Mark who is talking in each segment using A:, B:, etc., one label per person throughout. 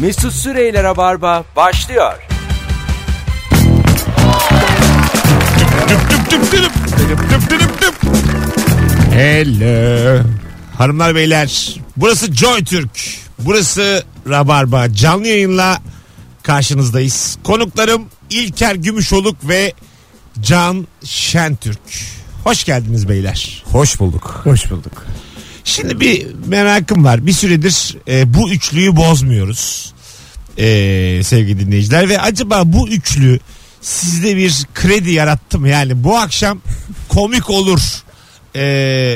A: Mesut Süreyler'e barba başlıyor.
B: Hello. Hanımlar beyler burası Joy Türk. Burası Rabarba. Canlı yayınla karşınızdayız. Konuklarım İlker Gümüşoluk ve Can Şentürk. Hoş geldiniz beyler.
C: Hoş bulduk. Hoş bulduk.
B: Şimdi bir merakım var. Bir süredir e, bu üçlüyü bozmuyoruz. E, sevgili dinleyiciler ve acaba bu üçlü sizde bir kredi yarattı mı? Yani bu akşam komik olur e,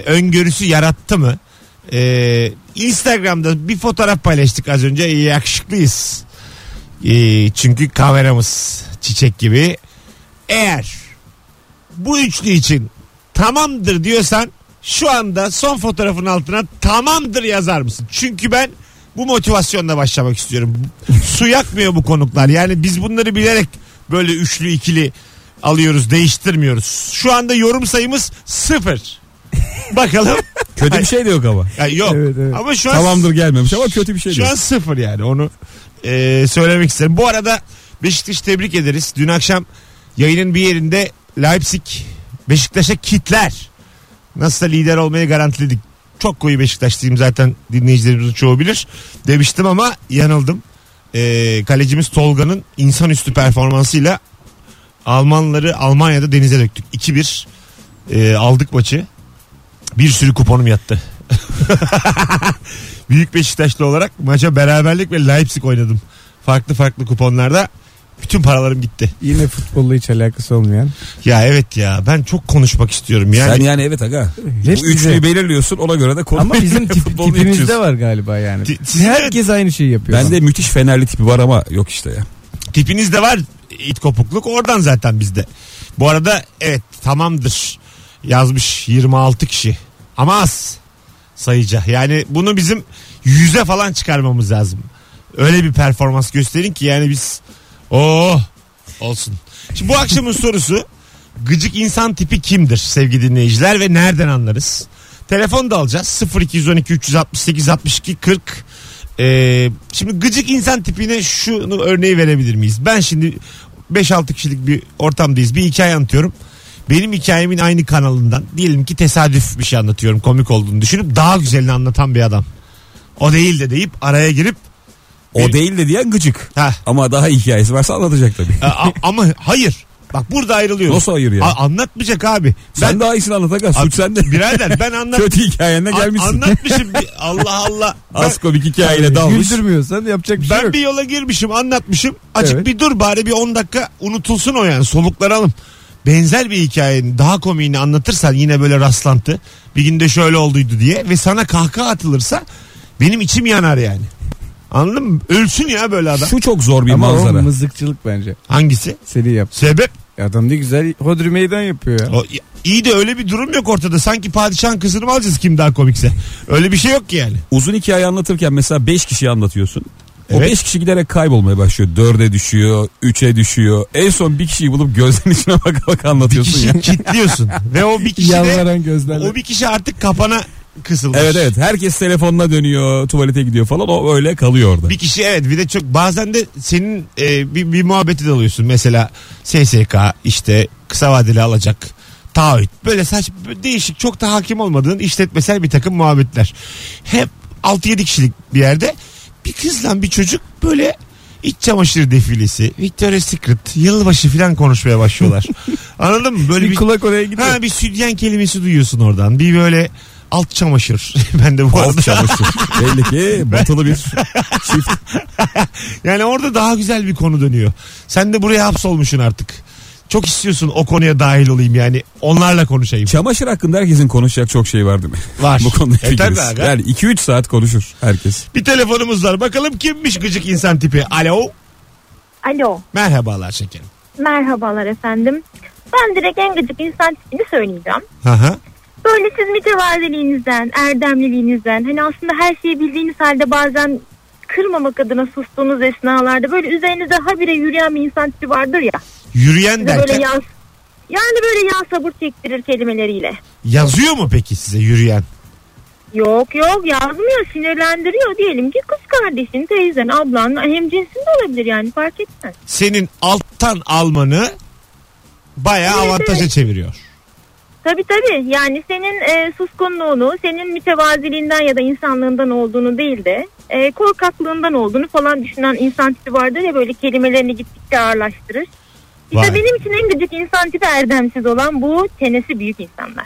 B: öngörüsü yarattı mı? E, Instagram'da bir fotoğraf paylaştık az önce. Yakışıklıyız. E, çünkü kameramız çiçek gibi. Eğer bu üçlü için tamamdır diyorsan şu anda son fotoğrafın altına tamamdır yazar mısın? Çünkü ben bu motivasyonla başlamak istiyorum. Su yakmıyor bu konuklar. Yani biz bunları bilerek böyle üçlü ikili alıyoruz, değiştirmiyoruz. Şu anda yorum sayımız sıfır. Bakalım.
C: Kötü bir şey de yok ama.
B: Ya yok.
C: Evet, evet.
B: Ama şu an
C: Tamamdır gelmemiş ama kötü bir şey
B: şu
C: değil.
B: an sıfır yani onu e, söylemek isterim. Bu arada Beşiktaş'ı tebrik ederiz. Dün akşam yayının bir yerinde Leipzig Beşiktaş'a kitler. Nasıl lider olmayı garantiledik. Çok koyu Beşiktaşlıyım zaten dinleyicilerimizin çoğu bilir. Demiştim ama yanıldım. E, kalecimiz Tolga'nın insanüstü performansıyla Almanları Almanya'da denize döktük. 2-1 e, aldık maçı. Bir sürü kuponum yattı. Büyük Beşiktaşlı olarak maça beraberlik ve Leipzig oynadım. Farklı farklı kuponlarda bütün paralarım gitti.
D: Yine futbolla hiç alakası olmayan.
B: Ya evet ya ben çok konuşmak istiyorum yani.
C: Sen yani evet aga.
D: Hepsi
C: bu üçlüyü
D: bize.
C: belirliyorsun ona göre de konu.
D: Ama bizim tip,
C: Futbolunu
D: tipimizde
C: yapıyorsun.
D: var galiba yani.
B: Ti- sizin evet,
D: Herkes aynı şeyi yapıyor.
C: Bende müthiş fenerli tipi var ama yok işte ya.
B: tipinizde var it kopukluk oradan zaten bizde. Bu arada evet tamamdır yazmış 26 kişi ama az sayıca. Yani bunu bizim yüze falan çıkarmamız lazım. Öyle bir performans gösterin ki yani biz oh, Oo olsun. Şimdi bu akşamın sorusu gıcık insan tipi kimdir sevgili dinleyiciler ve nereden anlarız? Telefon da alacağız 0212 368 62 40. Ee, şimdi gıcık insan tipine şunu örneği verebilir miyiz? Ben şimdi 5-6 kişilik bir ortamdayız. Bir hikaye anlatıyorum. Benim hikayemin aynı kanalından diyelim ki tesadüf bir şey anlatıyorum komik olduğunu düşünüp daha güzelini anlatan bir adam. O değil de deyip araya girip
C: O
B: Bir-
C: değil de diyen gıcık.
B: ha
C: Ama daha iyi hikayesi varsa anlatacak tabii.
B: e, a- ama hayır. Bak burada ayrılıyoruz.
C: Nasıl hayır ya?
B: A- anlatmayacak abi.
C: Sen daha iyisini anlat aga.
B: Abi-
C: Suç sende.
B: Birader ben anlat
C: Kötü hikayenle
B: a-
C: gelmişsin.
B: anlatmışım. bir- Allah Allah. Ben,
C: Az komik hikayeyle
D: Yani
C: dalmış.
D: Güldürmüyorsan yapacak bir şey
B: ben
D: yok.
B: bir yola girmişim anlatmışım. Açık
D: Evet.
B: bir dur bari bir 10 dakika unutulsun o yani soluklanalım. Benzer bir hikayenin daha komiğini anlatırsan yine böyle rastlantı bir günde şöyle olduydu diye ve sana kahkaha atılırsa benim içim yanar yani. Anladın mı? Ölsün ya böyle adam.
C: Şu çok zor bir
D: Ama o
C: manzara.
D: mızıkçılık bence.
B: Hangisi?
D: Seni yap.
B: Sebep?
D: Adam ne güzel hodri meydan yapıyor ya.
B: O, iyi de öyle bir durum yok ortada. Sanki padişahın kızını mı alacağız kim daha komikse? Öyle bir şey yok ki yani.
C: Uzun hikaye anlatırken mesela 5 kişiye anlatıyorsun. O
B: Evet.
C: 5 kişi giderek kaybolmaya başlıyor. 4'e düşüyor, 3'e düşüyor. En son bir kişiyi bulup gözlerinin içine baka baka anlatıyorsun
B: Kişi
C: ya.
B: kitliyorsun. Ve o bir kişi de,
D: Yalvaran gözlerle.
B: o bir kişi artık kapana kısılmış.
C: Evet evet herkes telefonuna dönüyor tuvalete gidiyor falan o öyle kalıyor orada.
B: Bir kişi evet bir de çok bazen de senin e, bir, bir muhabbeti de alıyorsun. Mesela SSK işte kısa vadeli alacak taahhüt. Böyle saç böyle değişik çok da hakim olmadığın işletmesel bir takım muhabbetler. Hep 6-7 kişilik bir yerde bir kızla bir çocuk böyle iç çamaşır defilesi, Victoria's Secret, yılbaşı falan konuşmaya başlıyorlar. Anladın mı? Böyle
D: Bir
B: bir,
D: kulak oraya gidiyor.
B: ha, bir sütyen kelimesi duyuyorsun oradan. Bir böyle alt çamaşır. ben de bu arada
C: Alt çamaşır. Belli ki batılı bir çift.
B: Yani orada daha güzel bir konu dönüyor. Sen de buraya hapsolmuşsun artık. Çok istiyorsun o konuya dahil olayım yani. Onlarla konuşayım.
C: Çamaşır hakkında herkesin konuşacak çok şey var değil mi?
B: Var.
C: Bu konuda
B: E, tabii
C: fikiriz.
B: aga.
C: yani 2-3 saat konuşur herkes.
B: Bir telefonumuz var. Bakalım kimmiş gıcık insan tipi. Alo.
E: Alo.
B: Merhabalar şekerim.
E: Merhabalar efendim. Ben direkt en gıcık insan tipini söyleyeceğim.
B: Hı hı.
E: Böyle siz mütevaziliğinizden, erdemliliğinizden hani aslında her şeyi bildiğiniz halde bazen kırmamak adına sustuğunuz esnalarda böyle üzerinize habire yürüyen bir insan tipi vardır ya.
B: Yürüyen
E: Size
B: derken
E: böyle yaz yani böyle yağ sabır çektirir kelimeleriyle.
B: yazıyor mu peki size yürüyen?
E: Yok yok yazmıyor sinirlendiriyor diyelim ki kız kardeşin teyzen ablan hem cinsin de olabilir yani fark etmez.
B: Senin alttan almanı bayağı
E: Evet,
B: avantaja çeviriyor.
E: Tabii tabii yani senin e, suskunluğunu senin mütevaziliğinden ya da insanlığından olduğunu değil de e, korkaklığından olduğunu falan düşünen insan tipi vardır ya böyle kelimelerini gittikçe ağırlaştırır. İşte
B: Vay.
E: benim için en gıcık insan tipi erdemsiz olan bu çenesi büyük insanlar.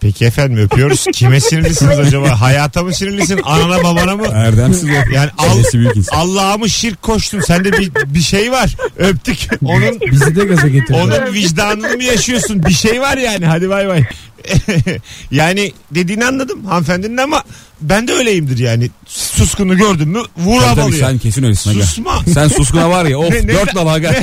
B: Peki efendim öpüyoruz. Kime sinirlisiniz acaba? Hayata mı sinirlisin? Anana babana mı?
C: Erdemsiz o.
B: Yani al,
C: Kendisi büyük insan.
B: Allah'a mı şirk koştun? Sende bir, bir şey var. Öptük. Onun
D: Bizi de gaza getirdi.
B: onun vicdanını mı yaşıyorsun? Bir şey var yani. Hadi bay bay. yani dediğini anladım hanımefendinin ama ben de öyleyimdir yani. Suskunu gördün mü vur
C: Tabii, tabii,
B: havalıyor.
C: sen kesin öylesin. aga.
B: Susma.
C: Sen suskuna var ya of
B: Ne- ne-
C: dört dala aga.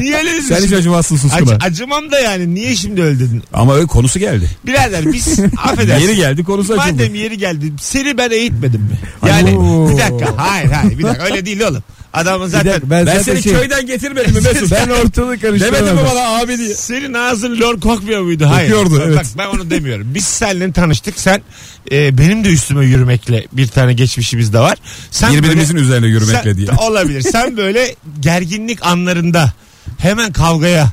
B: Niye öyle dedin
C: Sen hiç
B: şimdi?
C: acımazsın suskuna.
B: Ac- acımam da yani niye şimdi öyle dedin?
C: Ama öyle konusu geldi.
B: Birader biz affedersin.
C: Yeri geldi konusu açıldı.
B: Madem yeri geldi seni ben eğitmedim mi? Yani
D: Oo.
B: bir dakika hayır hayır bir dakika öyle değil oğlum. Adamın
D: Bir
B: zaten
D: dakika, ben,
C: Ben
D: zaten
C: seni
D: şey,
C: köyden getirmedim mi Mesut?
D: ben ortalığı
C: Demedim mi
D: karıştıramadım.
C: bana abi diye.
B: senin ağzın lor kokmuyor muydu? Hayır.
C: Kokuyordu,
B: Bak,
C: evet.
B: Bak ben onu demiyorum. Biz seninle tanıştık. Sen e, benim de üstüme yürümekle bir tane geçmişimiz de var. Sen
C: Birbirimizin
B: böyle-
C: üzerine yürümekle
B: sen-
C: diye.
B: Olabilir. Sen böyle gerginlik anlarında hemen kavgaya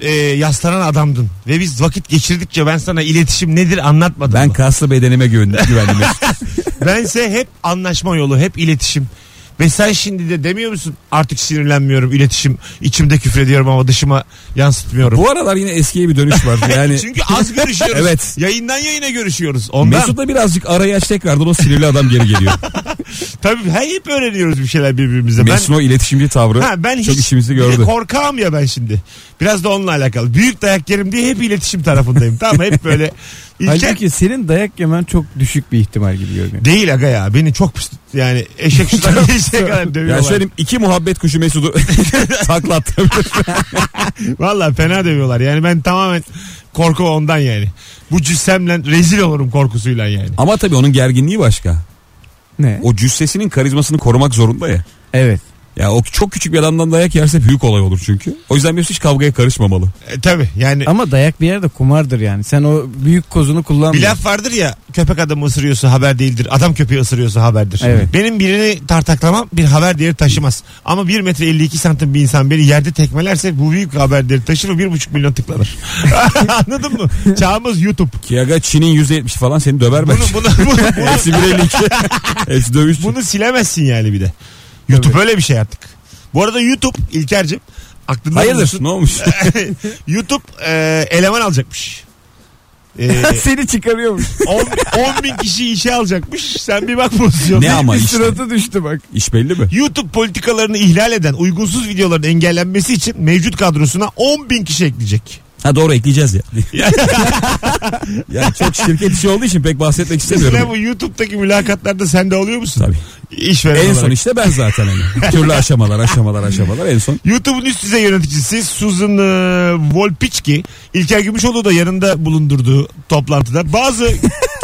B: e, yaslanan adamdın. Ve biz vakit geçirdikçe ben sana iletişim nedir anlatmadım.
C: Ben
B: mı?
C: kaslı bedenime güven- güvendim. Mesut.
B: Bense hep anlaşma yolu, hep iletişim. Ve sen şimdi de demiyor musun artık sinirlenmiyorum, iletişim, içimde küfrediyorum ama dışıma yansıtmıyorum.
C: Bu aralar yine eskiye bir dönüş var. Yani
B: Çünkü az görüşüyoruz.
C: Evet.
B: Yayından yayına görüşüyoruz. Ondan.
C: Mesut'la birazcık arayı aç tekrardan o sinirli adam geri geliyor.
B: Tabii he- hep öğreniyoruz bir şeyler birbirimize. Ben,
C: Mesut'un o iletişimci tavrı
B: ha, ben
C: çok
B: hiç
C: işimizi
B: bir de
C: gördü.
B: korkağım ya ben şimdi. Biraz da onunla alakalı. Büyük dayak yerim diye hep iletişim tarafındayım. tamam mı? hep böyle. İlker
D: Halbuki senin dayak yemen çok düşük bir ihtimal gibi görünüyor.
B: değil aga ya. Beni çok pis- yani eşek şuradan geçecek kadar dövüyorlar.
C: Ya söyleyeyim iki muhabbet kuşu Mesut'u taklattı.
B: Valla fena dövüyorlar. Yani ben tamamen korku ondan yani. Bu cüssemle rezil olurum korkusuyla yani.
C: Ama tabii onun gerginliği başka.
D: Ne?
C: O cüssesinin karizmasını korumak zorunda ya.
D: Evet.
C: Ya o çok küçük bir adamdan dayak yerse büyük olay olur çünkü. O yüzden Mesut hiç kavgaya karışmamalı.
B: E, tabii yani
D: Ama dayak bir yerde kumardır yani. Sen o büyük kozunu kullanma.
B: bir laf vardır ya köpek adamı ısırıyorsa haber değildir. Adam köpeği ısırıyorsa haberdir.
D: Evet.
B: Benim birini tartaklamam bir haber değeri taşımaz. Ama 1 metre 52 santim bir insan beni yerde tekmelerse bu büyük haber değeri taşır ve 1,5 milyon tıklanır. Anladın mı? Çağımız YouTube.
C: Ki aga Çin'in %70 falan seni döver
B: Bunu,
C: belki.
B: bunu, bunu,
C: Hepsi 1.52. Hepsi dövüş.
B: Bunu silemezsin yani bir de. YouTube öyle bir şey artık. Bu arada YouTube İlker'cim aklında bulunsun.
C: Hayırdır ne olmuş?
B: YouTube e, eleman alacakmış. E,
D: Seni çıkarıyormuş.
B: 10 bin kişi işe alacakmış. Sen bir bak pozisyona.
C: Ne ama
D: bir
C: işte.
D: suratı düştü bak.
C: İş belli mi?
B: YouTube politikalarını ihlal eden uygunsuz videoların engellenmesi için mevcut kadrosuna 10 bin kişi ekleyecek.
C: Ha doğru ekleyeceğiz ya. yani çok şirket işi olduğu için pek bahsetmek
B: Mesela
C: istemiyorum.
B: bu YouTube'daki mülakatlarda sen de oluyor musun?
C: Tabii.
B: İşveren
C: En
B: olarak.
C: son işte ben zaten hani. Türlü aşamalar aşamalar aşamalar en son.
B: YouTube'un üst düzey yöneticisi Susan e, Wojcicki İlker Gümüşoğlu da yanında bulundurduğu toplantıda bazı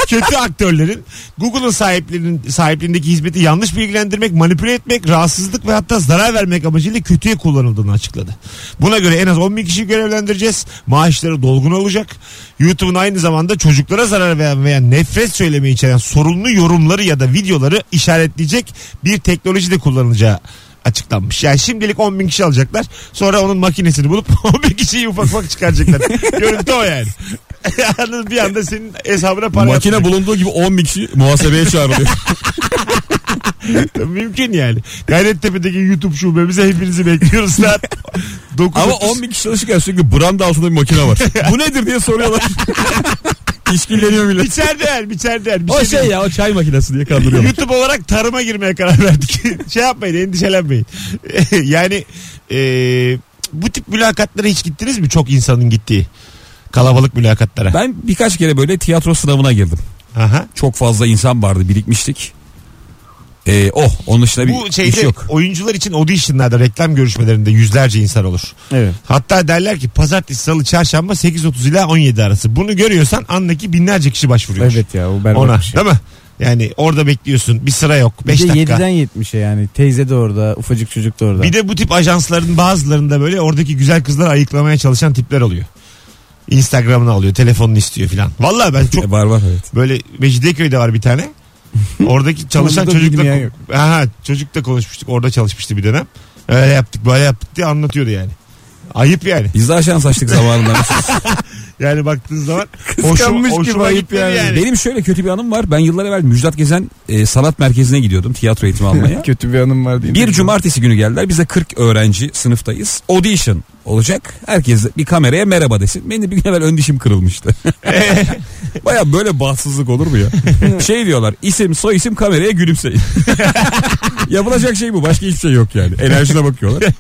B: kötü aktörlerin Google'ın sahiplerinin sahipliğindeki hizmeti yanlış bilgilendirmek, manipüle etmek, rahatsızlık ve hatta zarar vermek amacıyla kötüye kullanıldığını açıkladı. Buna göre en az 10 bin kişi görevlendireceğiz. Maaşları dolgun olacak. YouTube'un aynı zamanda çocuklara zarar veren veya nefret söylemi içeren sorunlu yorumları ya da videoları işaretleyecek bir teknoloji de kullanılacağı açıklanmış. Yani şimdilik 10 bin kişi alacaklar. Sonra onun makinesini bulup 10 bin kişiyi ufak ufak çıkaracaklar. Görüntü o yani. Yalnız bir anda senin hesabına para
C: Makine
B: yatacak.
C: bulunduğu gibi 10 bin kişi muhasebeye çağrılıyor.
B: Mümkün yani. Gayrettepe'deki YouTube şubemize hepinizi bekliyoruz saat 9.
C: Ama 10 bin kişi çalışırken sürekli branda altında bir makine var. Bu nedir diye soruyorlar. İşkilleniyor bile.
B: İçeride yani içeride yani. Bir
C: O
B: şey
C: şey ya o çay makinesi diye kandırıyorlar.
B: YouTube olarak tarıma girmeye karar verdik. şey yapmayın endişelenmeyin. yani e, bu tip mülakatlara hiç gittiniz mi? Çok insanın gittiği. Kalabalık mülakatlara.
C: Ben birkaç kere böyle tiyatro sınavına girdim.
B: Aha.
C: Çok fazla insan vardı birikmiştik. Ee, oh onun dışında bir
B: Bu
C: iş
B: şeyde
C: yok.
B: oyuncular için auditionlarda reklam görüşmelerinde yüzlerce insan olur.
D: Evet.
B: Hatta derler ki pazartesi, salı, çarşamba 8.30 ile 17 arası. Bunu görüyorsan andaki binlerce kişi başvuruyor.
D: Evet ya o berbat
B: Ona
D: bir şey.
B: değil mi? Yani orada bekliyorsun. Bir sıra yok. 5
D: bir de
B: dakika.
D: 7'den 70'e yani. Teyze de orada, ufacık çocuk da orada.
B: Bir de bu tip ajansların bazılarında böyle oradaki güzel kızları ayıklamaya çalışan tipler oluyor. Instagram'ını alıyor. Telefonunu istiyor filan. Vallahi ben çok
C: E, var var evet.
B: Böyle Mecidiyeköy'de var bir tane. Oradaki çalışan
D: Orada bilmeyen
B: çocukla
D: yok.
B: Aha, çocukla konuşmuştuk. Orada çalışmıştı bir dönem. Öyle yaptık böyle yaptık diye anlatıyordu yani. Ayıp yani.
C: Biz daha şans açtık zamanında.
B: Yani baktığınız zaman hoşuma,
D: Kıskanmış gibi
B: hoşuma
D: ayıp
B: gitmedi yani.
D: yani.
C: Benim şöyle kötü bir anım var. Ben yıllar evvel Müjdat Gezen e, sanat merkezine gidiyordum tiyatro eğitimi almaya.
D: Kötü bir anım var değil mi?
C: Bir cumartesi günü geldiler. Biz de 40 öğrenci sınıftayız. Audition olacak. Herkes bir kameraya merhaba desin. Benim de bir gün evvel ön dişim kırılmıştı. Baya böyle bahtsızlık olur mu ya? şey diyorlar isim soy isim kameraya gülümseyin. Yapılacak şey bu. Başka hiçbir şey yok yani. Enerjine bakıyorlar.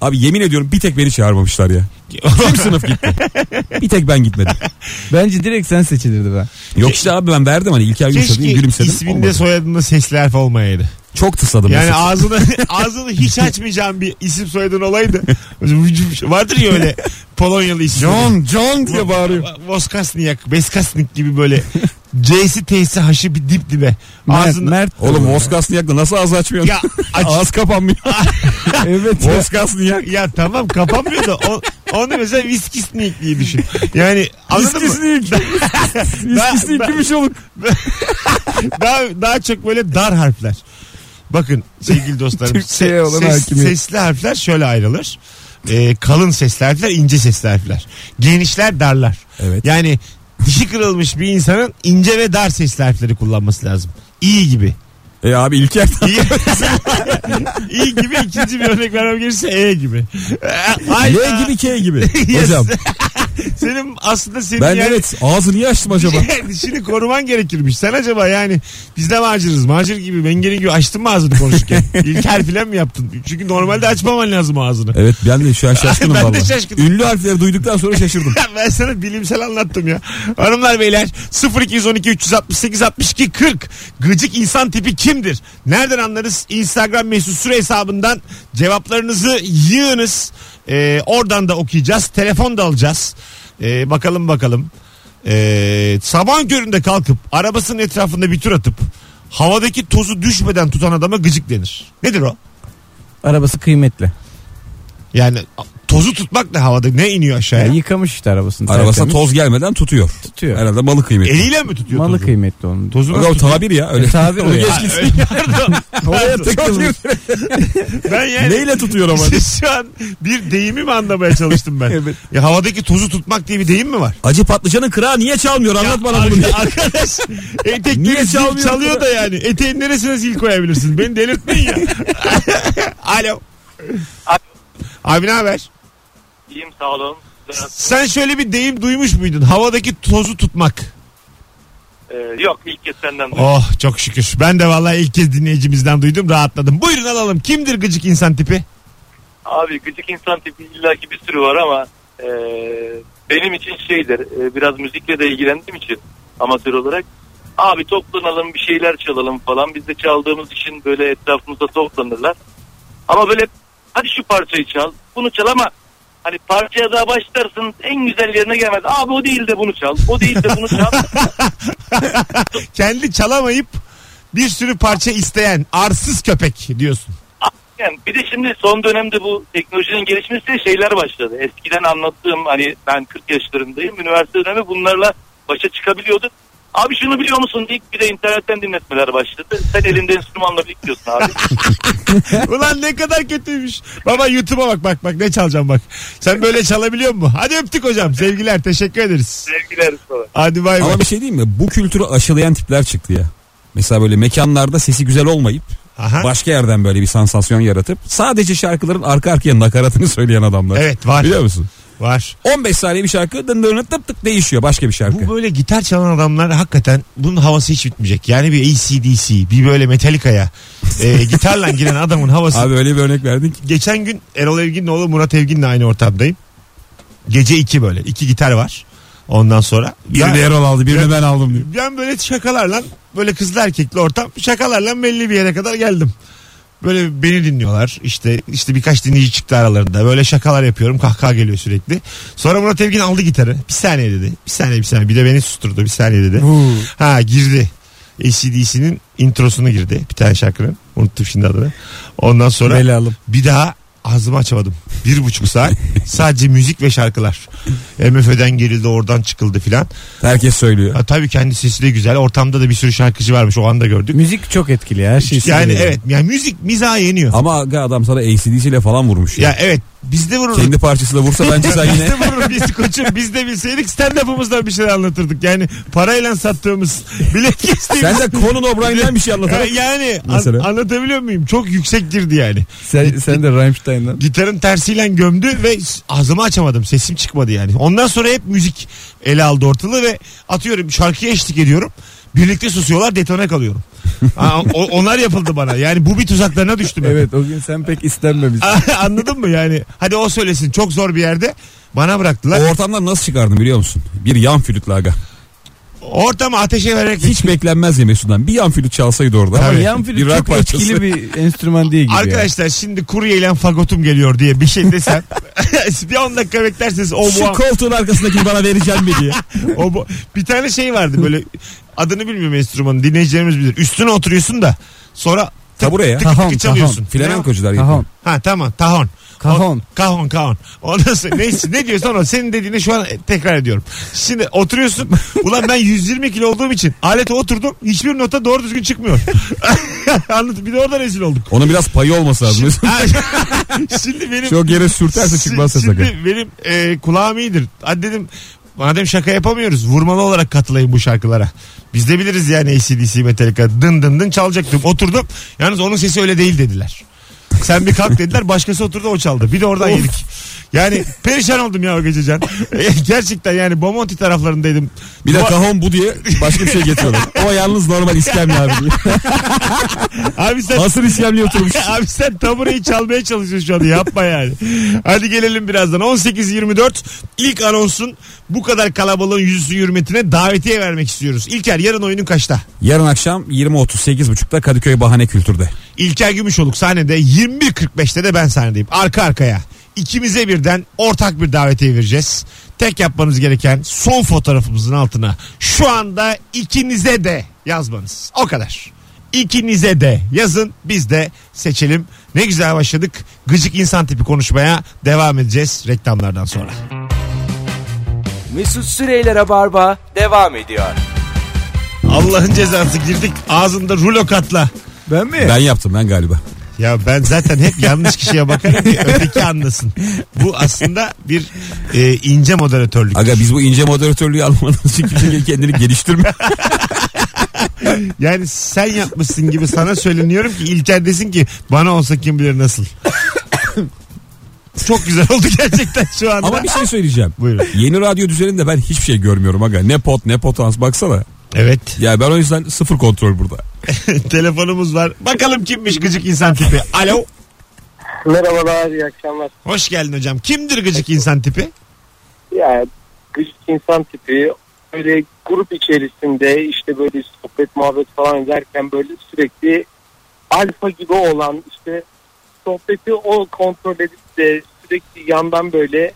C: Abi yemin ediyorum bir tek beni çağırmamışlar ya. Tüm sınıf gitti. Bir tek ben gitmedim.
D: Bence direkt sen seçilirdi ben.
C: Yok işte abi ben verdim hani İlker
B: Keşke
C: Gümüşadı'yı gülümsedim.
B: isminde
C: Olmadı.
B: soyadında sesli harf olmayaydı.
C: Çok tısladım.
B: Yani
C: mesela.
B: ağzını ağzını hiç açmayacağım bir isim soyadın olaydı. Vardır ya öyle Polonyalı isim.
D: John
B: diye bağırıyor. Voskasniak, Beskasnik gibi böyle C'si T'si H'ı bir dip dibe.
D: Mert,
B: Ağzını...
D: Mert.
C: Oğlum Voskasniyak'la nasıl ağzı açmıyorsun?
B: Ya aç-
C: Ağız kapanmıyor.
D: evet. ya.
C: Voskasniyak.
B: Ya tamam kapanmıyor da o, onu mesela viskisnik diye düşün. Yani anladın mı? Daha-
C: Viskisnik
B: daha-
C: Gümüşoluk.
B: Daha, daha çok böyle dar harfler. Bakın sevgili dostlarım
D: Türkçeye
B: se-
D: olan
B: ses-
D: hakimiyet.
B: sesli harfler şöyle ayrılır. Ee, kalın sesli harfler ince sesli harfler. Genişler darlar.
C: Evet.
B: Yani dişi kırılmış bir insanın ince ve dar sesli harfleri kullanması lazım. İyi gibi.
C: E abi İlker
B: İyi, İyi gibi ikinci bir örnek vermem gerekirse E gibi. Ee, Hayda.
C: L gibi K gibi.
B: Yes.
C: Hocam
B: Senin aslında senin
C: ben
B: yani-
C: evet ağzı niye açtım acaba?
B: Dişini koruman gerekirmiş. Sen acaba yani biz de macırız. Macır gibi mengeli gibi açtın mı ağzını konuşurken? İlker filan mı yaptın? Çünkü normalde açmaman lazım ağzını.
C: Evet ben de şu an şaşkınım
B: Ben de
C: valla.
B: şaşkınım.
C: Ünlü harfleri duyduktan sonra şaşırdım.
B: ben sana bilimsel anlattım ya. Hanımlar beyler 0212 368 62 40 gıcık insan tipi kimdir? Nereden anlarız? Instagram mesut süre hesabından cevaplarınızı yığınız. Ee, oradan da okuyacağız. Telefon da alacağız. Ee, bakalım bakalım. Ee, sabah köründe kalkıp arabasının etrafında bir tur atıp havadaki tozu düşmeden tutan adama gıcık denir. Nedir o?
D: Arabası kıymetli.
B: Yani a- tozu tutmak ne havada ne iniyor aşağıya?
D: Yani yıkamış işte arabasını.
C: Arabasına
D: tertemiz.
C: toz gelmeden tutuyor.
D: Tutuyor.
C: Herhalde malı kıymetli.
B: Eliyle mi tutuyor
D: Malı
B: tozu?
D: kıymetli onun.
B: Tozu
C: Bak o
B: nasıl tutuyor?
C: tabir ya öyle.
D: E, tabir
C: Onu
D: o ya.
C: geç
B: Ha,
C: gitsin.
B: öyle- Pardon.
D: Oraya takılmış.
B: ben yani
C: Neyle tutuyor ama?
B: şu an bir deyimi mi anlamaya çalıştım ben?
D: Evet.
B: Ya havadaki tozu tutmak diye bir deyim mi var?
C: Acı patlıcanın kırağı niye çalmıyor anlat
B: Ya
C: bana bunu.
B: ar- Arkadaş
C: Niye
B: etekleri zil
C: çalmıyor?
B: çalıyor da yani. Eteğin neresine zil koyabilirsin? Beni delirtmeyin ya. Alo. Abi ne haber?
F: İyiyim sağ olun.
B: Sen şöyle bir deyim duymuş muydun? Havadaki tozu tutmak.
F: Ee, yok ilk kez senden duydum.
B: Oh çok şükür. Ben de vallahi ilk kez dinleyicimizden duydum. Rahatladım. Buyurun alalım. Kimdir gıcık insan tipi?
F: Abi gıcık insan tipi illaki bir sürü var ama e, benim için şeydir e, biraz müzikle de ilgilendiğim için amatör olarak. Abi toplanalım bir şeyler çalalım falan. Biz de çaldığımız için böyle etrafımızda toplanırlar. Ama böyle hadi şu parçayı çal bunu çal ama hani parçaya daha başlarsın en güzel yerine gelmez. Abi o değil de bunu çal o değil de bunu çal.
B: Kendi çalamayıp bir sürü parça isteyen arsız köpek diyorsun.
F: Yani bir de şimdi son dönemde bu teknolojinin gelişmesiyle şeyler başladı. Eskiden anlattığım hani ben 40 yaşlarındayım. Üniversite dönemi bunlarla başa çıkabiliyorduk. Abi şunu biliyor musun deyip bir de internetten dinletmeler başladı. Sen elinde enstrümanla bekliyorsun abi.
B: Ulan ne kadar kötüymüş. Baba YouTube'a bak bak bak ne çalacağım bak. Sen böyle çalabiliyor musun? Hadi öptük hocam. Sevgiler teşekkür ederiz.
F: Sevgiler sana.
B: Hadi bay bay.
C: Ama bir şey diyeyim mi? Bu kültürü aşılayan tipler çıktı ya. Mesela böyle mekanlarda sesi güzel olmayıp
B: Aha.
C: başka yerden böyle bir sansasyon yaratıp sadece şarkıların arka arkaya nakaratını söyleyen adamlar.
B: Evet var
C: Biliyor musun?
B: var.
C: 15 saniye bir şarkı dın dın tıp tıp değişiyor başka bir şarkı.
B: Bu böyle gitar çalan adamlar hakikaten bunun havası hiç bitmeyecek. Yani bir ACDC bir böyle Metallica'ya e, gitarla giren adamın havası
C: Abi öyle bir örnek verdin ki.
B: geçen gün Erol Evgin'in oğlu Murat Evgin'le aynı ortamdayım. Gece iki böyle. iki gitar var. Ondan sonra. Ya-
C: Birini Erol aldı birini
B: Ya-
C: ben aldım diyor.
B: Ben böyle şakalarla böyle kızlı erkekli ortam şakalarla belli bir yere kadar geldim. Böyle beni dinliyorlar. İşte işte birkaç dinleyici çıktı aralarında. Böyle şakalar yapıyorum. Kahkaha geliyor sürekli. Sonra Murat Evgin aldı gitarı. Bir saniye dedi. Bir saniye bir saniye. Bir de beni susturdu. Bir saniye dedi. Ha girdi. ACDC'nin introsunu girdi. Bir tane şarkının. Unuttum şimdi adını. Ondan sonra
D: Belalım.
B: bir daha ağzımı açamadım. Bir buçuk saat sadece müzik ve şarkılar. MFÖ'den girildi oradan çıkıldı filan.
C: Herkes söylüyor.
B: Ha, tabii kendi sesi de güzel. Ortamda da bir sürü şarkıcı varmış o anda gördük.
D: Müzik çok etkili ya. Her şey
B: yani
D: söylüyor.
B: evet yani müzik mizaha yeniyor.
C: Ama aga adam sana ACDC ile falan vurmuş ya.
B: Ya evet biz de vururuz.
C: Kendi parçasıyla vursa bence sen
B: biz
C: yine
B: de vururuz biz koçum. Biz de bilseydik stand-up'ımızdan bir şey anlatırdık. Yani parayla sattığımız bilet kestiğimiz.
C: sen de Conan O'Brien'den bir şey anlatarak
B: yani an-
C: Mesela?
B: anlatabiliyor muyum? Çok yüksek girdi yani.
D: Sen, sen de Rammstein'dan.
B: Gitarın tersiyle gömdü ve s- ağzımı açamadım. Sesim çıkmadı yani. Ondan sonra hep müzik ele aldı ortalığı ve atıyorum şarkıya eşlik ediyorum. Birlikte susuyorlar detone kalıyorum. Ha, o- onlar yapıldı bana. Yani bu bir tuzaklarına düştüm. hep.
D: Evet o gün sen pek istenmemişsin.
B: Anladın mı yani? Hadi o söylesin çok zor bir yerde. Bana
C: o
B: bıraktılar.
C: ortamdan nasıl çıkardın biliyor musun? Bir yan flütle aga.
B: Ortamı ateşe vererek
C: Hiç beklenmez ya Mesut'tan. Bir yan flüt çalsaydı orada.
B: Tabii.
D: Ama
B: Evet.
D: yan flüt
C: Bir rock
D: çok
C: parçası.
D: etkili bir enstrüman değil gibi. Arkadaş.
B: Arkadaşlar şimdi kuryeyle fagotum geliyor diye bir şey desem bir 10 dakika beklerseniz o
C: Şu
B: bu
C: koltuğun arkasındakini bana vereceğim mi diye.
B: o bu- bir tane şey vardı böyle adını bilmiyorum enstrümanın dinleyicilerimiz bilir. Üstüne oturuyorsun da sonra tık
C: Tabure ya.
B: tık, tık
D: Tahon,
B: çalıyorsun.
C: Flamenkocular gibi.
D: Tamam.
B: Ha tamam tahon.
D: Kahon.
B: O- kahon kahon. Ondan sonra neyse ne diyorsan o senin dediğini şu an e, tekrar ediyorum. Şimdi oturuyorsun. Ulan ben 120 kilo olduğum için alete oturdum. Hiçbir nota doğru düzgün çıkmıyor. Anladın bir de orada rezil olduk.
C: Onun biraz payı olması lazım. Mesut.
B: Ha, şimdi benim
C: Çok yere sürterse
B: Şi-
C: çıkmazsa
B: Şimdi
C: sakın.
B: benim e, kulağım iyidir. Hadi dedim madem şaka yapamıyoruz vurmalı olarak katılayım bu şarkılara. Biz de biliriz yani ACDC Metallica dın dın dın çalacaktım. Oturdum yalnız onun sesi öyle değil dediler. Sen bir kalk dediler başkası oturdu o çaldı. Bir de oradan yedik. Yani perişan oldum ya o gece Can. E, Gerçekten yani Bomonti taraflarındaydım.
C: Bir de
B: Duvar-
C: kahon bu diye başka bir şey getiriyorlar. O yalnız normal iskemle abi diye.
B: Abi sen
C: Asır iskemle oturmuş.
B: Abi sen tabureyi çalmaya çalışıyorsun şu anda yapma yani. Hadi gelelim birazdan 18.24 ilk anonsun bu kadar kalabalığın yüzlü hürmetine davetiye vermek istiyoruz. İlker yarın oyunun kaçta?
C: Yarın akşam 20.38.30'da Kadıköy Bahane Kültür'de.
B: İlker Gümüşoluk sahnede 21.45'te de ben sahnedeyim arka arkaya. İkimize birden ortak bir davetiye vereceğiz. Tek yapmanız gereken son fotoğrafımızın altına şu anda ikinize de yazmanız. O kadar. İkinize de yazın biz de seçelim. Ne güzel başladık. Gıcık insan tipi konuşmaya devam edeceğiz reklamlardan sonra.
A: Mesut Süreyler'e barba devam ediyor.
B: Allah'ın cezası girdik ağzında rulo katla.
D: Ben mi?
C: Ben yaptım ben galiba.
B: Ya ben zaten hep yanlış kişiye bakarım ki öteki anlasın. Bu aslında bir e, ince moderatörlük.
C: Aga biz bu ince moderatörlüğü almadığımız için kimse kendini geliştirmiyor.
B: Yani sen yapmışsın gibi sana söyleniyorum ki İlker desin ki bana olsa kim bilir nasıl. Çok güzel oldu gerçekten şu anda.
C: Ama bir şey söyleyeceğim.
B: Buyurun.
C: Yeni radyo düzeninde ben hiçbir şey görmüyorum aga. Ne pot ne potans baksana.
B: Evet.
C: Ya ben o yüzden sıfır kontrol burada.
B: Telefonumuz var. Bakalım kimmiş gıcık insan tipi. Alo.
G: Merhabalar, iyi akşamlar.
B: Hoş geldin hocam. Kimdir gıcık insan tipi?
G: Ya gıcık insan tipi böyle grup içerisinde işte böyle sohbet muhabbet falan ederken böyle sürekli alfa gibi olan işte sohbeti o kontrol edip de sürekli yandan böyle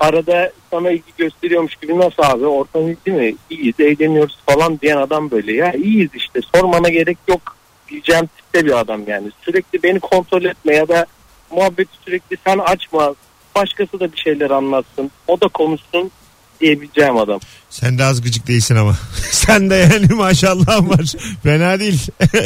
G: arada sana ilgi gösteriyormuş gibi nasıl abi ortam iyi değil mi? İyiyiz eğleniyoruz falan diyen adam böyle ya iyiyiz işte sormana gerek yok diyeceğim tipte bir adam yani sürekli beni kontrol etme ya da muhabbeti sürekli sen açma başkası da bir şeyler anlatsın. O da konuşsun diyebileceğim adam.
B: Sen de az gıcık değilsin ama. Sen de yani maşallah var. Fena değil.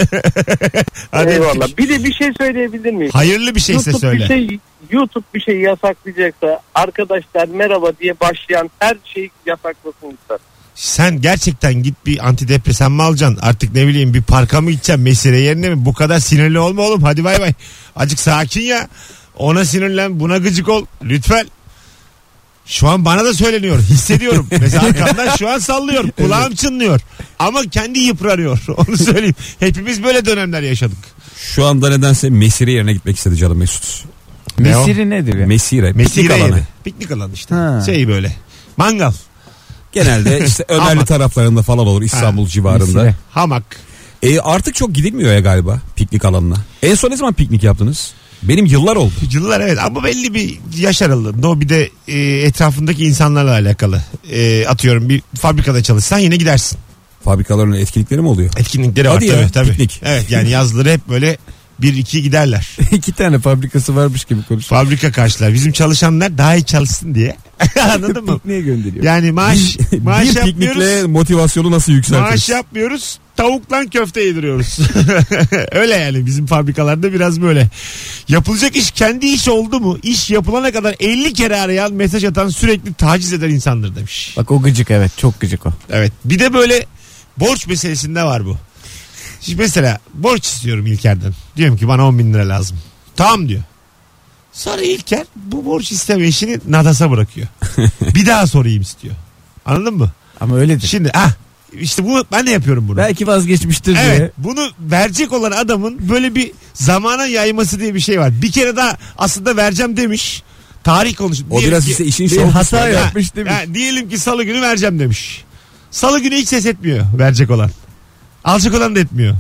B: Hadi
G: Eyvallah.
B: öptük.
G: Bir de bir şey söyleyebilir miyim?
B: Hayırlı bir şeyse
G: YouTube
B: söyle.
G: bir şey YouTube bir şey yasaklayacaksa arkadaşlar merhaba diye başlayan her şeyi yasaklasın lütfen.
B: Sen gerçekten git bir antidepresan mı alacaksın? Artık ne bileyim bir parka mı gideceksin? Mesire yerine mi? Bu kadar sinirli olma oğlum. Hadi bay bay. Acık sakin ya. Ona sinirlen buna gıcık ol. Lütfen. Şu an bana da söyleniyor. Hissediyorum. Mesela arkamdan şu an sallıyor. Kulağım çınlıyor. Ama kendi yıpranıyor. Onu söyleyeyim. Hepimiz böyle dönemler yaşadık.
C: Şu anda nedense mesire yerine gitmek istedi canım Mesut.
B: Ne o?
D: Mesiri nedir ya?
C: Mesire.
B: Mesire
C: Mesire alanı.
B: yeri. Piknik alanı işte.
D: Ha.
B: Şey böyle. Mangal.
C: Genelde işte
B: Ama-
C: Ömerli taraflarında falan olur İstanbul civarında.
D: Mesire.
B: Hamak.
C: E, artık çok gidilmiyor ya galiba piknik alanına. En son ne zaman piknik yaptınız? Benim yıllar oldu.
B: Yıllar evet ama belli bir yaş aralığında o bir de e, etrafındaki insanlarla alakalı. E, atıyorum bir fabrikada çalışsan yine gidersin.
C: Fabrikaların etkinlikleri mi oluyor?
B: Etkinlikleri var
C: Hadi ya,
B: tabii, tabii.
C: piknik.
B: Evet yani yazları hep böyle bir iki giderler.
D: İki tane fabrikası varmış gibi konuşuyor.
B: Fabrika karşılar. Bizim çalışanlar daha iyi çalışsın diye. Anladın mı?
D: Pikniğe gönderiyor.
B: Yani maaş maaş
C: bir piknikle
B: yapmıyoruz.
C: motivasyonu nasıl
B: Maaş
C: yükseltiriz?
B: yapmıyoruz. Tavukla köfte yediriyoruz. Öyle yani bizim fabrikalarda biraz böyle. Yapılacak iş kendi iş oldu mu? İş yapılana kadar 50 kere arayan, mesaj atan, sürekli taciz eden insandır demiş.
D: Bak o gıcık evet çok gıcık o.
B: Evet. Bir de böyle borç meselesinde var bu. Şimdi mesela borç istiyorum İlker'den. Diyorum ki bana 10 bin lira lazım. Tamam diyor. Sonra İlker bu borç isteme işini Nadas'a bırakıyor. bir daha sorayım istiyor. Anladın mı?
D: Ama öyledir.
B: Şimdi ah işte bu ben de yapıyorum bunu.
D: Belki vazgeçmiştir
B: Evet
D: diye.
B: bunu verecek olan adamın böyle bir zamana yayması diye bir şey var. Bir kere daha aslında vereceğim demiş. Tarih konuş.
C: O
B: Diyelim
C: biraz
B: ki-
C: işte işin şey
D: Bir
C: şov
D: hata
B: Ha,
D: yapmış demiş.
B: ha, diyelim ki salı günü vereceğim demiş. Salı günü hiç ses etmiyor verecek olan. Alacak olan da etmiyor.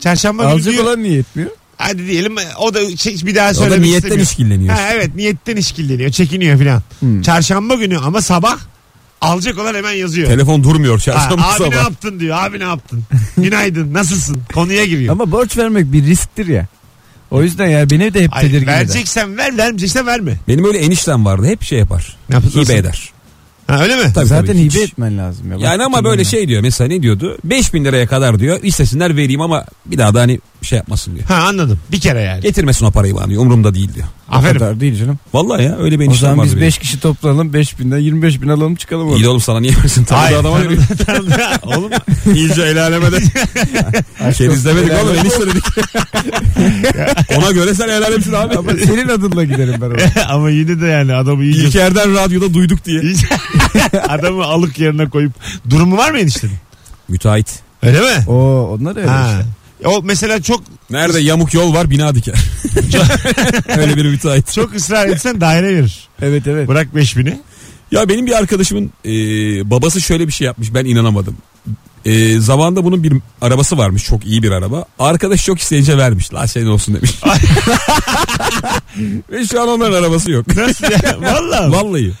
B: Çarşamba günü
D: Alacak
B: diyor,
D: olan niye yetmiyor?
B: hadi diyelim o da hiç bir daha
C: O da
B: söylemek
C: niyetten
B: istemiyor.
C: işkilleniyor. Hmm.
B: Ha, evet niyetten işkilleniyor çekiniyor filan. Çarşamba günü ama sabah alacak olan hemen yazıyor.
C: Telefon durmuyor
B: Ha,
C: çarşamba
B: abi ne
C: sabah.
B: yaptın diyor. Abi ne yaptın? Günaydın. Nasılsın? Konuya giriyor.
D: Ama borç vermek bir risktir ya. O yüzden ya beni de hep
B: Hayır,
D: tedirgin eder.
B: vereceksen ver, vermeyeceksen verme.
C: Benim öyle eniştem vardı hep şey yapar.
B: Ne yapar? Nasıl?
C: Hibe eder.
B: Ha, öyle mi?
C: Tabii,
D: Zaten
C: tabii, hiç.
D: hibe etmen lazım ya. Bak,
C: Yani ama böyle
D: bilmem
C: şey diyor mesela ne diyordu? 5000 liraya kadar diyor istesinler vereyim ama bir daha da hani şey yapmasın diyor.
B: Ha anladım. Bir kere yani.
C: Getirmesin o parayı bana diyor umurumda değil diyor.
D: ne. O
B: Aferin.
D: kadar değil canım.
C: Vallahi ya öyle bir
D: O
C: eniştem
D: zaman
C: vardı.
D: biz
C: benim.
D: 5 kişi toplanalım 5 binden 25 bin alalım çıkalım
C: İyi de
D: oradan.
C: oğlum sana niye versin? Tanıdığı adama
B: tanı-
C: veriyor.
B: tanı- Oğlum
C: İyice el alemede. Keriz Şey demedik oğlum enişte dedik. Ona göre sen el alemsin abi.
D: Ama senin adınla giderim ben oraya.
B: ama yine de yani adamı iyice...
C: İlker'den radyoda duyduk diye.
B: iyice- adamı alık yerine koyup... Durumu var mı eniştenin?
C: Müteahhit.
B: Öyle mi?
D: Oo onlar öyle şey.
B: Ha.
D: işte.
B: O mesela çok
C: Nerede yamuk yol var bina diker. Öyle bir müteahhit.
B: çok ısrar etsen daire verir.
D: Evet evet.
B: Bırak 5000'i.
C: Ya benim bir arkadaşımın e, babası şöyle bir şey yapmış ben inanamadım. E, zamanında bunun bir arabası varmış çok iyi bir araba. Arkadaş çok isteyince vermiş. La senin olsun demiş. Ve şu an onların arabası yok.
B: Nasıl ya? Vallahi.
C: Vallahi.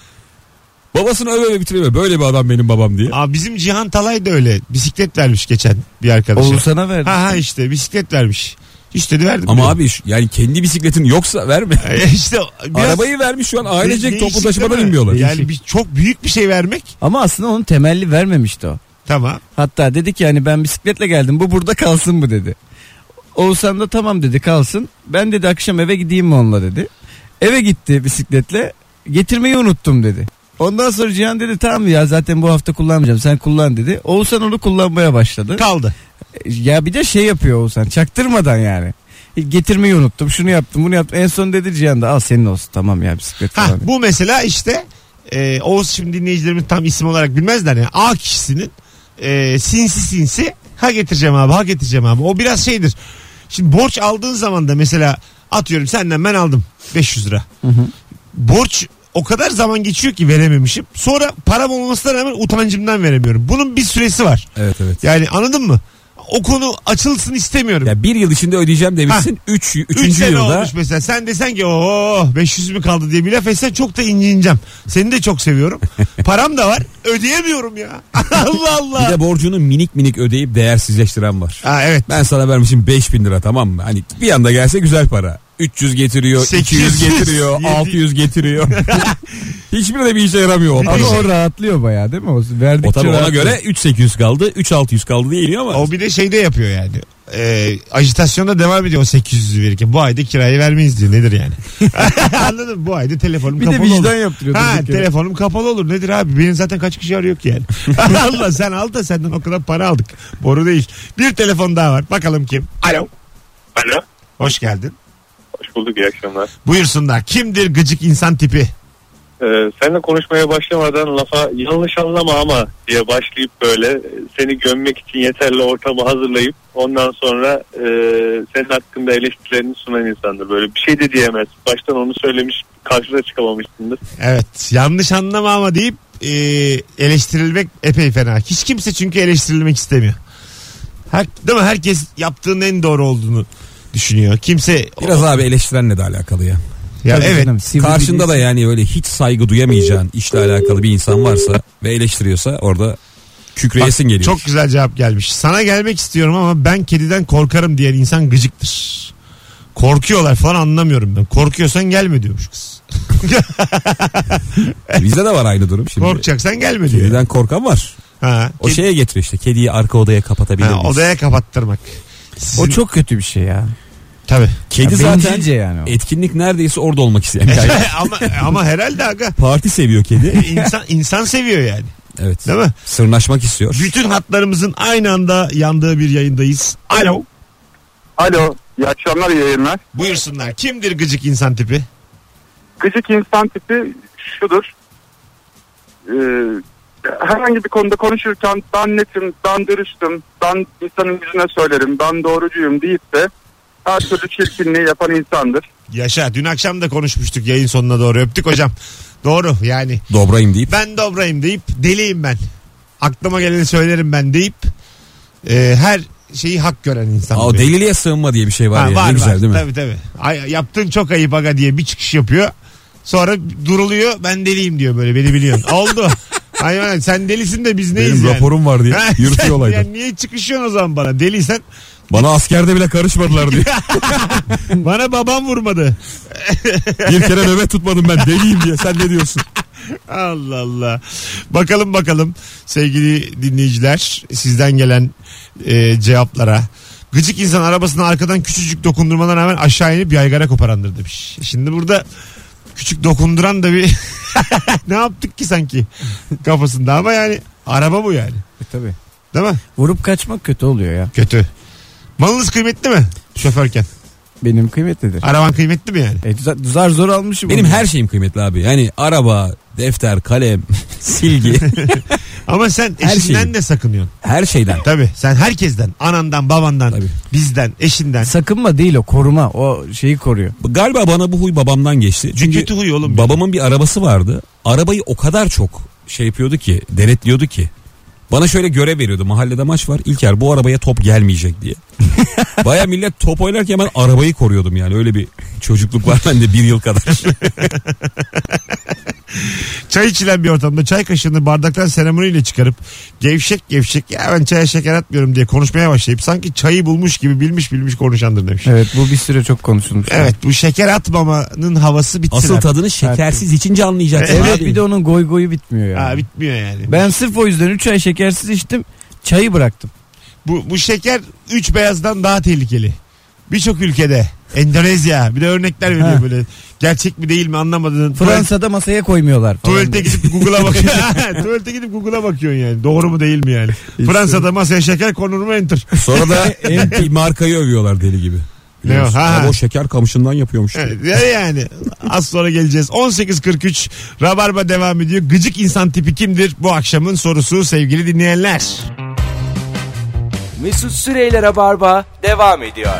C: Babasını öve öve bitiriyor. Böyle bir adam benim babam diye.
B: Aa, bizim Cihan Talay da öyle bisiklet vermiş geçen bir arkadaşa.
D: Oğlu sana verdi.
B: Ha ha işte bisiklet vermiş. İşte verdim.
C: Ama
B: diyor.
C: abi şu- yani kendi bisikletin yoksa verme.
B: E işte biraz
C: Arabayı vermiş şu an
B: de-
C: ailecek toplu
B: değişik
C: taşımadan
B: değil mi?
C: inmiyorlar.
B: Yani bir, çok büyük bir şey vermek
D: Ama aslında onun temelli vermemişti o.
B: tamam.
D: Hatta dedi ki yani ben bisikletle geldim bu burada kalsın mı dedi. Oğuzhan da tamam dedi kalsın. Ben dedi akşam eve gideyim mi onunla dedi. Eve gitti bisikletle getirmeyi unuttum dedi. Ondan sonra Cihan dedi tamam ya zaten bu hafta kullanmayacağım sen kullan dedi. Oğuzhan onu kullanmaya başladı.
B: Kaldı.
D: Ya bir de şey yapıyor Oğuzhan çaktırmadan yani. E, Getirmeyi unuttum şunu yaptım bunu yaptım. En son dedi Cihan da al senin olsun tamam ya bisiklet
B: Ha,
D: falan. dedi.
B: bu mesela işte e, Oğuz şimdi dinleyicilerimiz tam isim olarak bilmezler ya. A kişisinin e, sinsi sinsi ha getireceğim abi ha getireceğim abi. O biraz şeydir. Şimdi borç aldığın zaman da mesela atıyorum senden ben aldım 500 lira. Borç o kadar zaman geçiyor ki verememişim. Sonra param olmasına rağmen utancımdan veremiyorum. Bunun bir süresi var.
C: Evet evet.
B: Yani anladın mı? O konu açılsın istemiyorum.
C: Ya bir yıl içinde ödeyeceğim demişsin. Üç,
B: 3
C: üçüncü
B: Üç sene
C: yılda
B: olmuş mesela. Sen desen ki ooo 500 mü kaldı diye bir laf etsen çok da incineceğim. Seni de çok seviyorum. Param da var. Ödeyemiyorum ya. Allah
C: bir
B: Allah.
C: de borcunu minik minik ödeyip değersizleştiren var.
B: Ha, evet.
C: Ben sana vermişim 5000 lira tamam mı? Hani bir anda gelse güzel para. 300 getiriyor,
B: 800,
C: 200 getiriyor,
B: yedi-
C: 600 getiriyor. Hiçbiri de bir işe yaramıyor o para.
D: Ama o rahatlıyor bayağı değil mi? O verdikçe
C: O tabii ona
D: rahatlıyor.
C: göre 3800 kaldı, 3600 kaldı diye iniyor ama.
B: O bir de şey de yapıyor yani. Ee, ajitasyonda devam ediyor o 800'ü verirken. Bu ayda kirayı vermeyiz diyor. Nedir yani? Anladın mı? Bu ayda telefonum
D: Bir de
B: kapalı olur.
D: vicdan yaptırıyor.
B: Ha
D: durduk yere.
B: telefonum kapalı olur nedir abi benim zaten kaç kişi arıyor ki yani. Allah sen al da senden o kadar para aldık. Boru değil. Bir telefon daha var bakalım kim. Alo
F: Alo.
B: hoş geldin.
F: Hoş bulduk iyi akşamlar.
B: Buyursunlar kimdir gıcık insan tipi?
F: Ee, seninle konuşmaya başlamadan lafa yanlış anlama ama diye başlayıp böyle e, seni gömmek için yeterli ortamı hazırlayıp ondan sonra e, senin hakkında eleştirilerini sunan insandır. Böyle bir şey de diyemez. Baştan onu söylemiş karşıda çıkamamışsındır.
B: Evet yanlış anlama ama deyip e, eleştirilmek epey fena. Hiç kimse çünkü eleştirilmek istemiyor. Her, değil mi? Herkes yaptığının en doğru olduğunu düşünüyor. Kimse
C: Biraz abi eleştirenle de alakalı ya.
B: ya
D: Tabii
B: evet
D: canım, sivri
C: Karşında
D: bir- şey.
C: da yani öyle hiç saygı duyamayacağın işle alakalı bir insan varsa ve eleştiriyorsa orada kükreyesin geliyor.
B: Çok güzel cevap gelmiş. Sana gelmek istiyorum ama ben kediden korkarım diyen insan gıcıktır. Korkuyorlar falan anlamıyorum ben. Korkuyorsan gelme diyormuş kız.
C: E, Bizde de var aynı durum şimdi.
B: Korkacaksan gelme diyor.
C: Kediden korkan var.
B: Ha,
C: O
B: şey.
C: şey
B: kedi-
C: şeye getiriyor işte. Kediyi arka odaya kapatabilir
B: ha,
C: miyiz?
B: odaya kapattırmak.
D: O
B: Sizin-
D: çok kötü bir şey ya.
B: tabii.
C: Kedi
D: Ya
C: zaten
D: bencilce yani o.
C: etkinlik neredeyse orada olmak isteyen bir hayvan.
B: ama ama herhalde aga
C: Parti seviyor kedi.
B: insan insan seviyor yani.
C: Evet.
B: Değil mi?
C: Sırnaşmak istiyor.
B: Bütün hatlarımızın aynı anda yandığı bir yayındayız. Alo.
H: Alo, iyi akşamlar, iyi yayınlar.
B: Buyursunlar. Kimdir gıcık insan tipi?
H: Gıcık insan tipi şudur. Ee, herhangi bir konuda konuşurken ben netim, ben dürüstüm, ben insanın yüzüne söylerim, ben doğrucuyum deyip de her türlü çirkinliği yapan insandır.
B: Yaşa. Dün akşam da konuşmuştuk yayın sonuna doğru. Öptük hocam. Doğru yani.
C: Dobrayım deyip.
B: Ben dobrayım deyip deliyim ben. Aklıma geleni söylerim ben deyip e, her şeyi hak gören insan.
C: Aa,
B: bu.
C: deliliğe sığınma diye bir şey var
B: Ha,
C: ya. ne güzel değil mi?
B: Tabii tabii. Ay, yaptığın çok ayıp aga diye bir çıkış yapıyor. Sonra duruluyor ben deliyim diyor böyle beni biliyorsun. Oldu. Aynen sen delisin de biz neyiz
C: Benim
B: yani?
C: raporum var diye
B: Ha,
C: yürütüyorlardı.
B: sen- yani niye çıkışıyorsun o zaman bana? Deliysen
C: Bana askerde bile karışmadılar diye.
B: bana babam vurmadı.
C: bir kere nöbet tutmadım ben deliyim diye. Sen ne diyorsun?
B: Allah Allah. Bakalım bakalım sevgili dinleyiciler sizden gelen e, cevaplara. Gıcık insan arabasına arkadan küçücük dokundurmana rağmen aşağı inip yaygara koparandır demiş. Şimdi burada küçük dokunduran da bir ne yaptık ki sanki kafasında ama yani araba bu yani.
D: E, tabii.
B: Değil mi?
D: Vurup kaçmak kötü oluyor ya.
B: Kötü. Malınız kıymetli mi şoförken?
D: Benim kıymetlidir.
B: Araban kıymetli mi yani?
D: E, za- zar zor almışım.
C: Benim
D: onu.
C: her şeyim kıymetli abi. Yani araba, defter, kalem, silgi.
B: Ama sen
C: Her
B: eşinden
C: şeyi.
B: de sakınıyorsun.
C: her şeyden.
B: Tabii sen herkesten anandan babandan
C: Tabii.
B: bizden eşinden.
D: sakınma değil o koruma. O şeyi koruyor.
C: Galiba bana bu huy babamdan geçti.
B: Çünkü
C: Çünkü
B: E, kötü huy oğlum.
C: babamın bir arabası vardı. Arabayı o kadar çok şey yapıyordu ki, denetliyordu ki. Bana şöyle görev veriyordu. Mahallede maç var. İlker bu arabaya top gelmeyecek diye. Baya millet top oynarken ben arabayı koruyordum yani. Öyle bir çocukluk var bende bir yıl kadar.
B: Çay içilen bir ortamda çay kaşığını bardaktan seremoniyle çıkarıp gevşek gevşek ya ben çaya şeker atmıyorum diye konuşmaya başlayıp sanki çayı bulmuş gibi bilmiş bilmiş konuşandır demiş. Evet,
D: Evet bu bir süre çok konuşulmuş.
B: bu şeker atmamanın havası bitsin
C: Asıl
B: artık.
C: tadını şekersiz içince anlayacaksın.
D: Evet
C: abi.
D: bir de onun goy goyu bitmiyor ya.
B: Ha, bitmiyor yani.
D: Ben sırf o yüzden 3 ay şekersiz içtim. Çayı bıraktım.
B: Bu, bu şeker 3 beyazdan daha tehlikeli. Birçok ülkede Endonezya bir de örnekler veriyor
D: Ha.
B: böyle. Gerçek mi değil mi anlamadığın.
D: Fransa'da masaya koymuyorlar falan.
B: Tuvalete gidip Google'a bakıyorsun. Tuvalete gidip Google'a bakıyorsun yani. Doğru mu değil mi yani? Fransa'da masaya şeker konur mu enter.
C: Sonra da MP markayı övüyorlar deli gibi.
B: Ne o?
C: Biliyorsun.
B: Ha, ha.
C: Abi o şeker kamışından yapıyormuş.
B: Evet, yani az sonra geleceğiz. 18.43 Rabarba devam ediyor. Gıcık insan tipi kimdir? Bu akşamın sorusu sevgili dinleyenler.
A: Mesut Süreyler'e barba devam ediyor.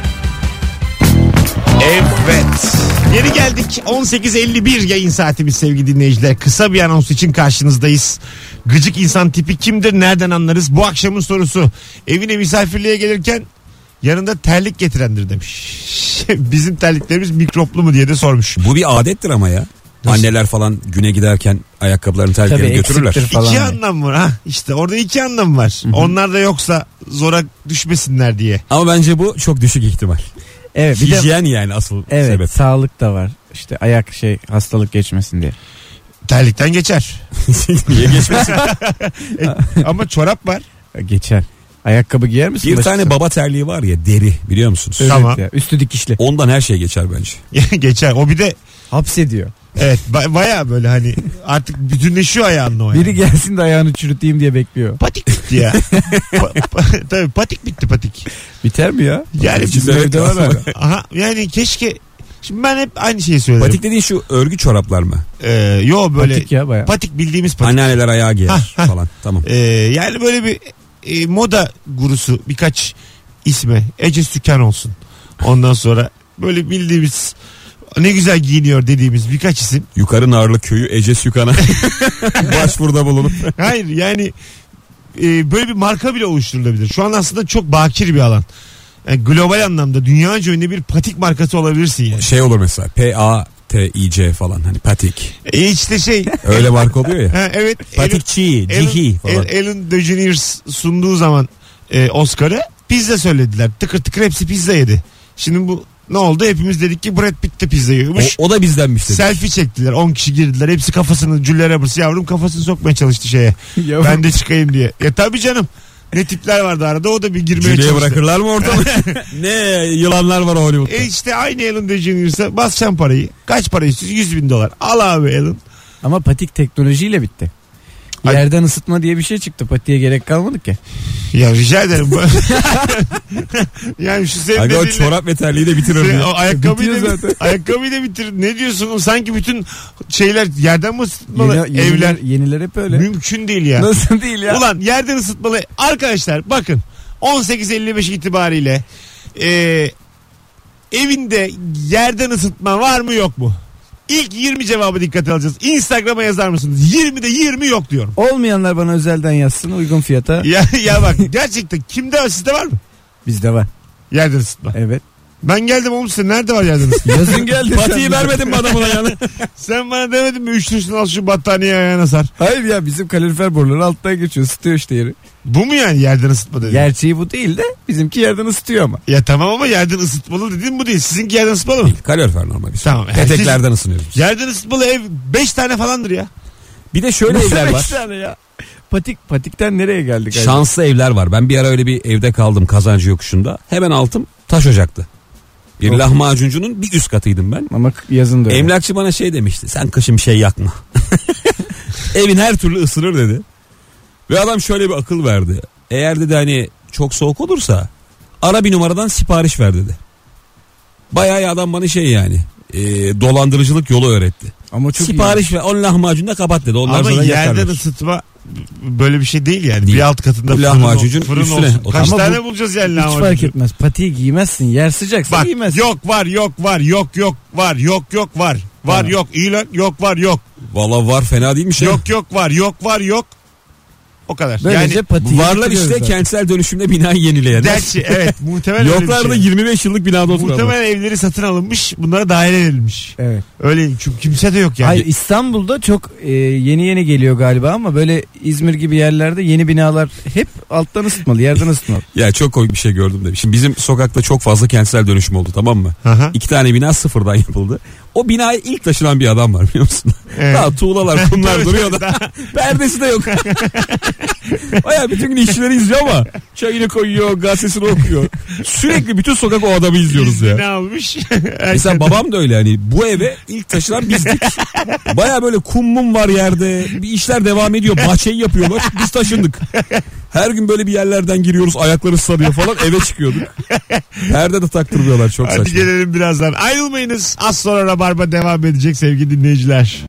B: Evet. Geri geldik. 18.51 yayın saatimiz sevgili dinleyiciler. Kısa bir anons için karşınızdayız. Gıcık insan tipi kimdir? Nereden anlarız? Bu akşamın sorusu. Evine misafirliğe gelirken yanında terlik getirendir demiş. Bizim terliklerimiz mikroplu mu diye de sormuş.
C: Bu bir adettir ama ya. Anneler falan güne giderken ayakkabılarını terliklerini
D: Tabii,
C: götürürler.
D: eksiktir falan.
B: İki anlam var ha. İşte orada iki anlam var. Onlar da yoksa zora düşmesinler diye.
C: Ama bence bu çok düşük ihtimal.
D: Evet bir de
C: Hijyen yani asıl
D: evet
C: sebep.
D: sağlık da var. İşte ayak şey hastalık geçmesin diye.
B: Terlikten geçer.
C: Niye geçmesin?
B: E, ama çorap var.
D: E, Geçer. Ayakkabı giyer misin?
C: Bir
D: başka?
C: tane baba terliği var ya deri biliyor musunuz?
B: Evet. Tamam.
D: Ya, üstü dikişli.
C: Ondan her şey geçer bence.
B: geçer. O bir de
D: Hapsediyor.
B: evet ba- baya böyle hani artık bütünleşiyor ayağınla o yani.
D: Biri gelsin de ayağını çürüteyim diye bekliyor.
B: patik bitti ya. Pa- pa- tabii patik bitti patik.
D: Biter mi ya?
B: Yani
C: Bizim
B: bizim
C: evde var
D: abi.
B: Aha, yani keşke Şimdi ben hep aynı şeyi söylerim.
C: Patik dediğin şu örgü çoraplar mı?
B: Ee, yo böyle
D: Patik ya baya.
B: patik bildiğimiz patik.
C: Anneanneler ayağı giyer falan. Tamam.
B: Ee, yani böyle bir e, moda gurusu birkaç isme Ece Sükan olsun. Ondan sonra böyle bildiğimiz ne güzel giyiniyor dediğimiz birkaç isim.
C: Yukarı Narlı köyü Ece Sükan'a başvuruda bulunup.
B: Hayır yani e, böyle bir marka bile oluşturulabilir. Şu an aslında çok bakir bir alan. Yani global anlamda dünyaca ünlü bir patik markası olabilirsin yani.
C: Şey olur mesela P A T I C falan hani patik.
B: E işte şey
C: Öyle marka oluyor ya.
B: ha, evet Elon-
C: Patikçi, cihi
B: Alan,
C: falan.
B: Alan DeGeneres sunduğu zaman e, Oscar'ı pizza söylediler. Tıkır tıkır hepsi pizza yedi. Şimdi bu Ne oldu? Hepimiz dedik ki Brad Pitt de pizza
C: O,
B: yiyormuş.
C: o da bizdenmiş dedi.
B: Selfie çektiler. 10 kişi girdiler. Hepsi kafasını Julia Roberts yavrum kafasını sokmaya çalıştı şeye.
D: Yavrum.
B: Ben de çıkayım diye. Ya tabii canım. Ne tipler vardı arada o da bir girmeye
C: Julia'yı
B: çalıştı.
C: bırakırlar mı ortamı? ne yılanlar var Hollywood'da.
B: E işte aynı Ellen DeGeneres'e basacaksın parayı. Kaç para istiyorsun? 100 bin dolar. Al abi Ellen.
D: Ama patik teknolojiyle bitti.
B: Ay-
D: Yerden ısıtma diye bir şey çıktı. Patiğe gerek kalmadı ki.
B: Ya rica ederim. yani şu senin
C: Aga o
B: dediğinle-
C: çorap ve terliği de
D: Şey,
C: bitirir.
B: Sen o ayakkabıyı da,
D: Bitiyor
B: bit- ayakkabıyı da bitir. Ne diyorsun? Sanki bütün şeyler yerden mi ısıtmalı
D: Yeni,
B: evler?
D: yeniler, yeniler hep öyle.
B: Mümkün değil ya.
D: Nasıl değil ya?
B: Ulan yerden ısıtmalı. Arkadaşlar bakın 18.55 itibariyle e, evinde yerden ısıtma var mı yok mu? İlk 20 cevabı dikkate alacağız. Instagram'a yazar mısınız? 20'de 20 yok diyorum.
D: Olmayanlar bana özelden yazsın uygun fiyata.
B: Ya, ya bak gerçekten kimde var sizde var mı?
D: Bizde var.
B: Yerden ısıtma.
D: Evet.
B: Ben geldim oğlum size nerede var yerden ısıtma?
D: Yazın geldi.
C: Patiyi vermedin mi adamına yani?
B: Sen bana demedin mi üçlüsün al şu battaniye ayağına sar.
D: Hayır ya bizim kalorifer boruları alttan geçiyor. Isıtıyor işte yeri.
B: Bu mu yani yerden ısıtma dedi?
D: Gerçeği bu değil de bizimki yerden ısıtıyor ama.
B: Ya tamam ama yerden ısıtmalı dediğim bu değil. Sizinki yerden ısıtmalı mı?
C: Kalorifer normal biz.
B: Tamam.
C: Peteklerden ısınıyoruz. biz.
B: Yerden ısıtmalı ev 5 tane falandır ya.
C: Bir de şöyle
D: Nasıl
C: evler
D: beş
C: var.
D: tane ya? Patik patikten nereye geldik? acaba?
C: Şanslı evler var. Ben bir ara öyle bir evde kaldım kazancı yokuşunda. Hemen altım taş ocaktı. Bir
D: Of.
C: lahmacuncunun bir üst katıydım ben.
D: Ama k- yazın da öyle.
C: Emlakçı bana şey demişti. Sen kışın bir şey yakma. Evin her türlü ısınır dedi. Ve adam şöyle bir akıl verdi. Eğer dedi hani çok soğuk olursa ara bir numaradan sipariş ver dedi. Bayağı iyi adam bana şey yani e, dolandırıcılık yolu öğretti.
D: Ama çok iyi.
C: sipariş ver on lahmacunu da kapat dedi. Onlar
B: ama
C: zaten
B: yerden
C: yakarlar.
B: ısıtma böyle bir şey değil yani.
C: Değil.
B: Bir alt katında
C: Bu
B: fırın,
C: lahmacuncun
B: fırın
C: üstüne
B: olsun.
C: otur.
B: Kaç
D: Ama
B: tane
D: bu-
B: bulacağız yani
D: Hiç
B: lahmacuncu?
D: fark etmez. Patiği giymezsin. Yer sıcaksa
B: Bak
D: giymezsin.
B: yok var yok var yok yok var yok yok var. Var
D: Tamam. Şey-
B: yok iyi lan yok var yok.
C: Valla var fena şey? değilmiş. ya.
B: Yok yok var yok var yok. O kadar.
D: Böylece
B: yani
D: patiği
C: Varlar
D: bitiriyoruz
C: işte
D: zaten.
C: kentsel dönüşümde bina yenileyenler.
B: gerçi evet muhtemelen öyle bir
C: Yoklar da
B: şey.
C: 25 yıllık binada oturanlar.
B: Muhtemelen evleri satın alınmış bunlara dahil edilmiş.
D: Evet.
B: Öyle çünkü kimse de yok yani.
D: Hayır İstanbul'da çok e, yeni yeni geliyor galiba ama böyle İzmir gibi yerlerde yeni binalar hep alttan ısıtmalı, yerden ısıtmalı.
C: Ya çok komik bir şey gördüm de. Şimdi bizim sokakta çok fazla kentsel dönüşüm oldu tamam mı?
B: Aha.
C: İki tane bina sıfırdan yapıldı. O binaya ilk taşınan bir adam var biliyor musun?
B: Evet.
C: Daha tuğlalar kumlar
B: Tabii,
C: duruyor da perdesi de yok. Baya bütün gün işçileri izliyor ama çayını koyuyor gazetesini okuyor. Sürekli bütün sokak o adamı izliyoruz
B: İzni
C: ya.
B: ne almış?
C: Mesela babam da öyle hani bu eve ilk taşınan bizdik. Baya böyle kum mum var yerde. Bir işler devam ediyor. Bahçeyi yapıyorlar. Biz taşındık. Her gün böyle bir yerlerden giriyoruz. Ayakları sarıyor falan. Eve çıkıyorduk. Perde de taktırmıyorlar. Çok
B: Hadi
C: saçma.
B: gelelim birazdan. Ayrılmayınız. Az sonra Rabarba devam edecek sevgili dinleyiciler.